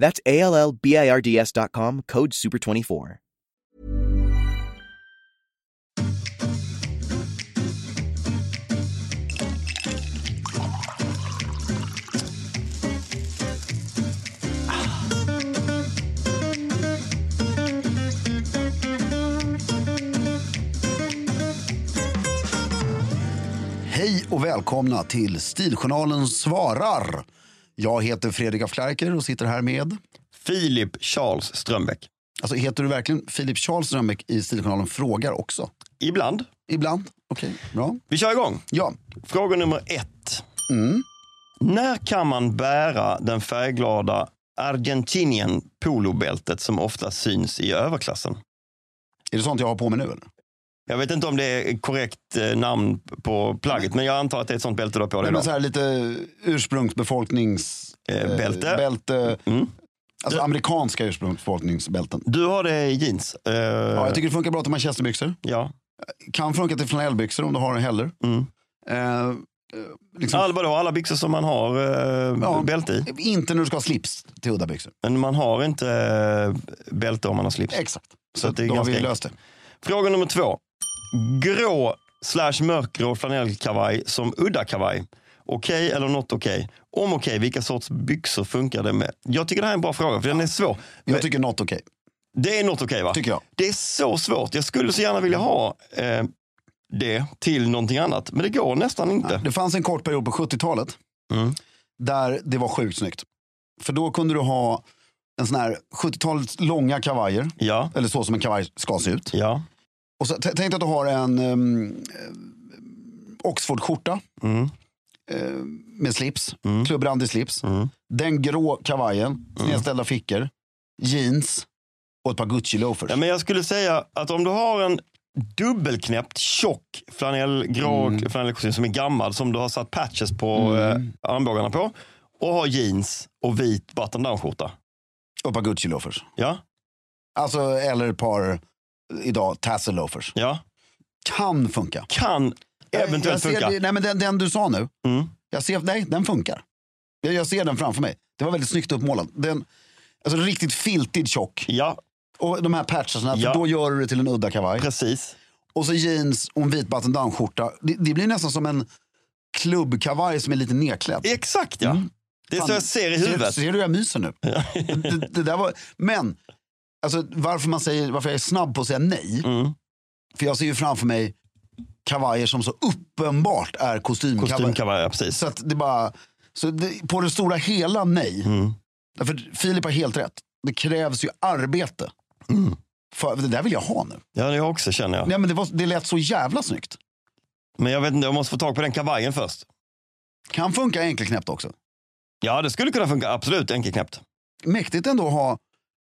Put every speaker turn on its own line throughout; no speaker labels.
That's A L L B I R D S dot com, code SUPER24.
Hej och välkomna till Stiljournalen svarar. Jag heter Fredrik af Klerker och sitter här med...
Filip Charles Strömbäck.
Alltså heter du verkligen Filip Charles Rönnbäck i Stiljournalen frågar också?
Ibland.
Ibland? Okej, bra.
Vi kör igång.
Ja, mm.
Fråga nummer ett. När kan man bära den färgglada Argentinian polobältet som ofta syns i överklassen?
är det sånt jag har på mig nu eller?
Jag vet inte om det är korrekt eh, namn på plagget, men jag antar att det är ett sånt bälte du har på dig
Nej, men
idag.
så här lite ursprungsbefolknings...
Eh, bälte.
bälte.
Mm. Eh.
Alltså amerikanska ursprungsbefolkningsbälten.
Du har det i jeans. Eh,
Ja, jag tycker det funkar bra till manchesterbyxor.
ja.
Kan funka till flanellbyxor om du har en heller.
Mm.
Eh, eh, liksom,
Alla, vadå, alla byxor som man har eh,
Ja.
bälte i.
Inte när du ska ha slips till udda byxor.
Men man har inte eh, bälte om man har slips.
Exakt.
Så
Så
att det är
då har
ganska
vi
enkelt.
löst det.
Fråga nummer två. Grå slash mörkgrå flanellkavaj som udda kavaj. Okej eller något okej? Om okej, vilka sorts byxor funkar det med? Jag tycker det här är en bra fråga, för den är svår. Men
Jag tycker något okej.
det är något okej va?
Tycker jag.
Det är så svårt. Jag skulle så gärna vilja ha eh, det till någonting annat, men det går nästan inte.
Det fanns en kort period på 70-talet
Mm.
där det var sjukt snyggt. För då kunde du ha en sån här 70-talets långa kavajer.
Ja,
Eller så som en kavaj ska se ut.
ja.
Och så, t- tänk dig att du har en um, Oxfordskjorta
Mm,
eh, med slips.
Mm.
Klubbrandig slips.
mm.
Den grå kavajen, snedställda fickor, jeans och ett par Gucci-loafers.
Ja, men jag skulle säga att om du har en dubbelknäppt tjock flanell, grå
Mm.
flanellkostym som är gammal som du har satt patches på eh, armbågarna på och har jeans och vit button down skjorta.
Och ett par Gucci-loafers.
Ja,
Alltså, eller ett par, eh, idag, tassel-loafers.
ja.
Kan funka.
Kan eventuellt
jag ser,
funka.
det- Nej, men den, den du sa nu.
Mm.
Jag ser, nej, den funkar. Jag, jag ser den framför mig. Det var väldigt snyggt uppmålad. Den, alltså riktigt filtig tjock.
Ja,
Och de här patcherna,
Ja.
för då gör du det till en udda kavaj.
precis.
Och så jeans och en vit button down-skjorta. Det, det blir nästan som en klubbkavaj som är lite nedklädd.
Exakt ja. Det
Mm.
är
Fan,
så jag ser i huvudet.
Ser, ser du hur jag myser nu? det, det där var, men, alltså, varför, man säger, varför jag är snabb på att säga nej.
Mm.
För jag ser ju framför mig kavajer som så uppenbart är kostymkavajer.
Kostymkavaj, ja, precis.
Så att det bara... Så det, på det stora hela, nej.
Mm.
För Filip har helt rätt. Det krävs ju arbete.
Mm.
För, det där vill jag ha nu.
Ja, det också känner jag.
Nej, men det, var, det lät så jävla snyggt.
Men jag vet inte, jag måste få tag på den kavajen först.
Kan funka enkelknäppt också.
Ja, det skulle kunna funka. Absolut, enkelknäppt.
Mäktigt ändå att ha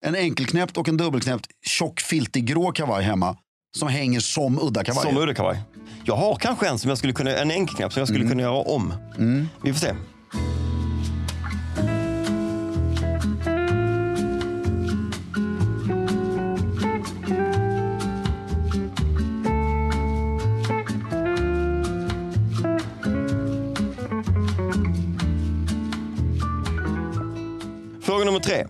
en enkelknäppt och en dubbelknäppt tjock filtig grå kavaj hemma som hänger som udda kavajer.
Som ullkavaj. Jag har kanske en som jag skulle kunna, en enkelknapp som jag skulle kunna göra om. Vi får se. nummer tre.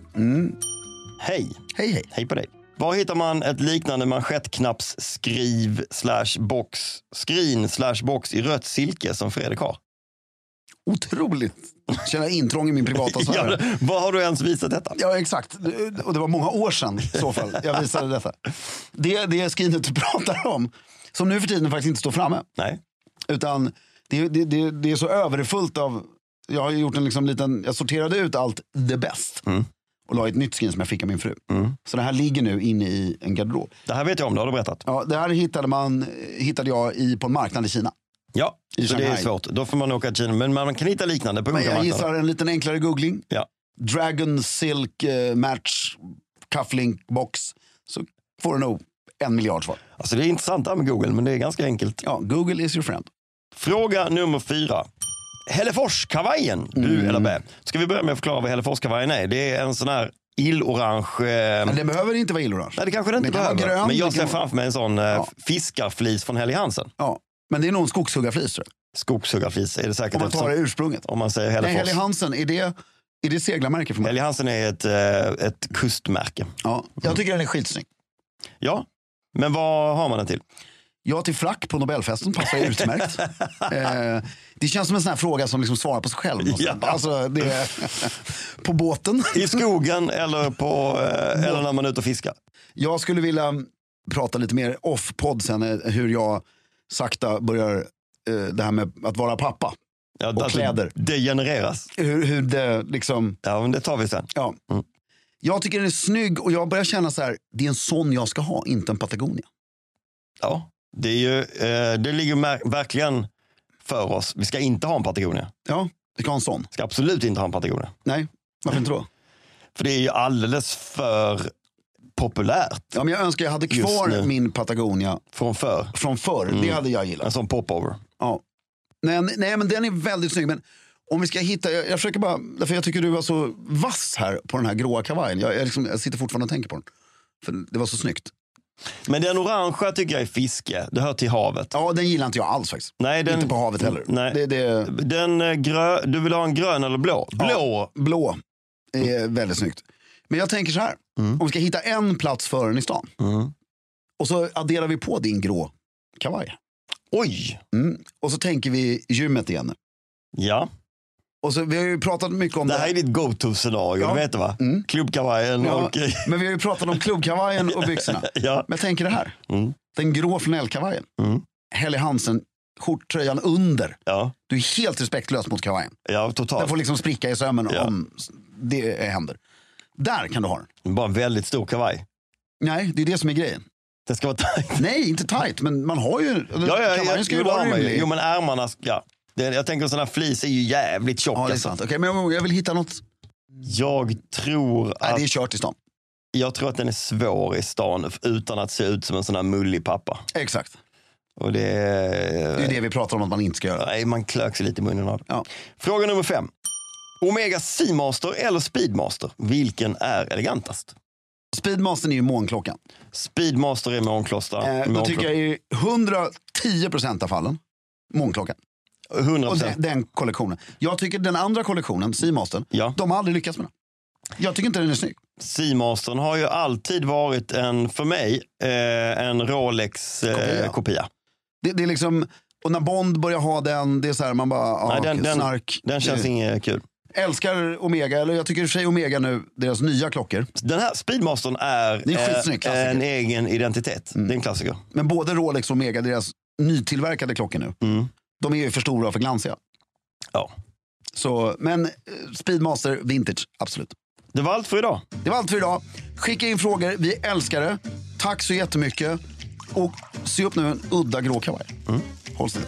Hej.
Hej, hej.
Hej på dig. Var hittar man ett liknande manschettknappsskriv slash box, screen slash box i rött silke som Fredrik har?
Otroligt. Känner jag intrång i min privata
Ja,
sfär.
vad har du ens visat detta?
Ja, exakt. Och det var många år sedan i så fall jag visade detta. Det, det skrinet du pratar om, som nu för tiden faktiskt inte står framme.
Nej.
Utan det, det, det, det är så överfullt av... Jag har gjort en liksom liten... Jag sorterade ut allt det bäst.
Mm.
Och la i ett nytt skrin som jag fick av min fru. Så det här ligger nu inne i en garderob.
Det här vet jag om, det har du berättat.
Ja, det här hittade, man, hittade jag i, på en marknad i Kina.
Ja,
I
så det är
Shanghai.
svårt. Då får man åka till Kina. Men man kan hitta liknande på
Men
olika
jag
marknader.
gissar en liten enklare googling.
Ja.
Dragon Silk eh, Match Cufflink Box. Så får du nog en miljard svar.
Alltså det är intressant det här med Google, men det är ganska enkelt.
Ja, Google is your friend.
Fråga nummer fyra. Helleforskavajen, du eller bä. Ska vi börja med att förklara vad Helleforskavajen är? Det är en sån här illorange... Eh,
Men det behöver inte vara illorange.
nej, det kanske det inte
kan vara
behöver.
grön,
men jag
det
ser
kan vara-
framför mig en sån eh, fiskarflis från Helly Hansen.
Ja, men det är nog en skogshuggarflis tror jag.
Skogshuggarflis är det säkert.
Om man tar det
eftersom-
ursprunget.
om man säger
Nej,
Hellefors.
Helly Hansen, är det, är det seglarmärke för mig?
Helly Hansen är ett, eh, ett kustmärke.
Ja, jag tycker den är skitsnygg.
Ja, men vad har man den till?
Ja till frack på Nobelfesten passar utmärkt. eh, det känns som en sån här fråga som liksom svarar på sig själv.
Ja.
Alltså, det, på båten.
I skogen eller, på, eh, eller när man är ute och fiskar?
Jag skulle vilja prata lite mer off-podd sen eh, hur jag sakta börjar eh, det här med att vara pappa.
Ja, alltså,
Och kläder.
Det genereras.
Hur, hur det liksom,
Ja, men det tar vi sen.
ja. Jag tycker den är snygg och jag börjar känna så här, det är en sån jag ska ha, inte en Patagonia.
Ja, det, är ju, eh, det ligger mär- verkligen för oss. Vi ska inte ha en Patagonia.
Ja, jag ska ha en sån.
Vi ska absolut inte ha en Patagonia.
Nej, varför inte då?
För det är ju alldeles för populärt
Ja, men jag önskar jag hade
Just nu.
kvar min Patagonia
från förr.
från förr. Det hade jag gillat.
En sån popover.
Ja. Nej, nej, men den är väldigt snygg. Men om vi ska hitta, jag, jag försöker bara, därför jag tycker du var så vass här på den här gråa kavajen. Jag, jag, liksom, jag sitter fortfarande och tänker på den. För det var så snyggt.
Men den orangea tycker jag är fiske. Det hör till havet.
Ja, den gillar inte jag alls faktiskt.
Nej, den, Mm,
Inte på havet heller.
Nej.
Det, det,
Den eh, grö, du vill ha en grön eller blå? Blå!
blå är
Mm.
väldigt snyggt. Men jag tänker så här, om vi ska hitta en plats för den i stan. Och så adderar vi på din grå kavaj.
Oj!
Mm. Och så tänker vi gymmet igen.
Ja,
Och så, vi har ju pratat mycket om
det här är ditt go-to-scenario.
Ja. Mm.
Du vet det va? Klubbkavajen
Ja,
och...
men vi har ju pratat om klubbkavajen och byxorna.
ja.
Men jag tänker det här.
Mm.
Den grå flanellkavajen.
Mm.
Helly Hansen, skjorttröjan under.
Ja.
Du är helt respektlös mot kavajen.
ja,
Den
totalt.
får liksom spricka i sömmen
Ja.
om s- det eh, händer. Där kan du ha den.
Bara en väldigt stor kavaj.
Nej, det är det som är grejen.
Den ska vara tajt.
Nej, inte tight, men man har ju...
Ja, ja, ja,
kavajen ska ju
jo, det har
vara
man ju.
rymlig.
Jo, men ärmarna, ska- ja. Det, jag tänker sådana här flis är ju jävligt tjocka.
Ja, det är
så.
sant. Okej, men jag- jag vill hitta något...
Jag tror
Nej,
att,
det är kört i stan.
jag tror att den är svår i stan utan att se ut som en sån här mullig pappa.
Exakt.
Och det,
Mm. Det är det vi pratar om att man inte ska göra.
Nej, man klök sig lite i munnen av det.
Ja.
Fråga nummer fem. Omega Seamaster eller Speedmaster, vilken är elegantast?
Speedmastern är ju månklockan.
Speedmaster är Månklostra.
Eh, då tycker jag i 110 procent av fallen, månklockan.
100
Och den, den kollektionen. Jag tycker den andra kollektionen, Seamastern,
Ja.
de har aldrig lyckats med den. Jag tycker inte den är snygg.
Seamastern har ju alltid varit en, för mig, eh, en Rolex-kopia.
Kopia.
Eh, kopia.
Det, det är liksom, och när Bond börjar ha den, det är så här, man bara, ah,
Nej, den-
okej,
den-
snark.
Den känns
Det-
inget kul.
Älskar Omega, eller jag tycker i och för sig Omega nu, deras nya klockor.
Den här Speedmastern är, eh,
Det är en skitsnygg klassiker. Mm.
en egen identitet. Det är en klassiker.
Men både Rolex och Omega, deras nytillverkade klockor nu,
Mm.
de är ju för stora och för glansiga.
Ja.
Så, men eh, Speedmaster, vintage, absolut.
Det var allt för idag.
Det var allt för idag. Skicka in frågor, vi älskar det. Tack så jättemycket. Och se upp nu en udda grå kavaj. Håll stilen.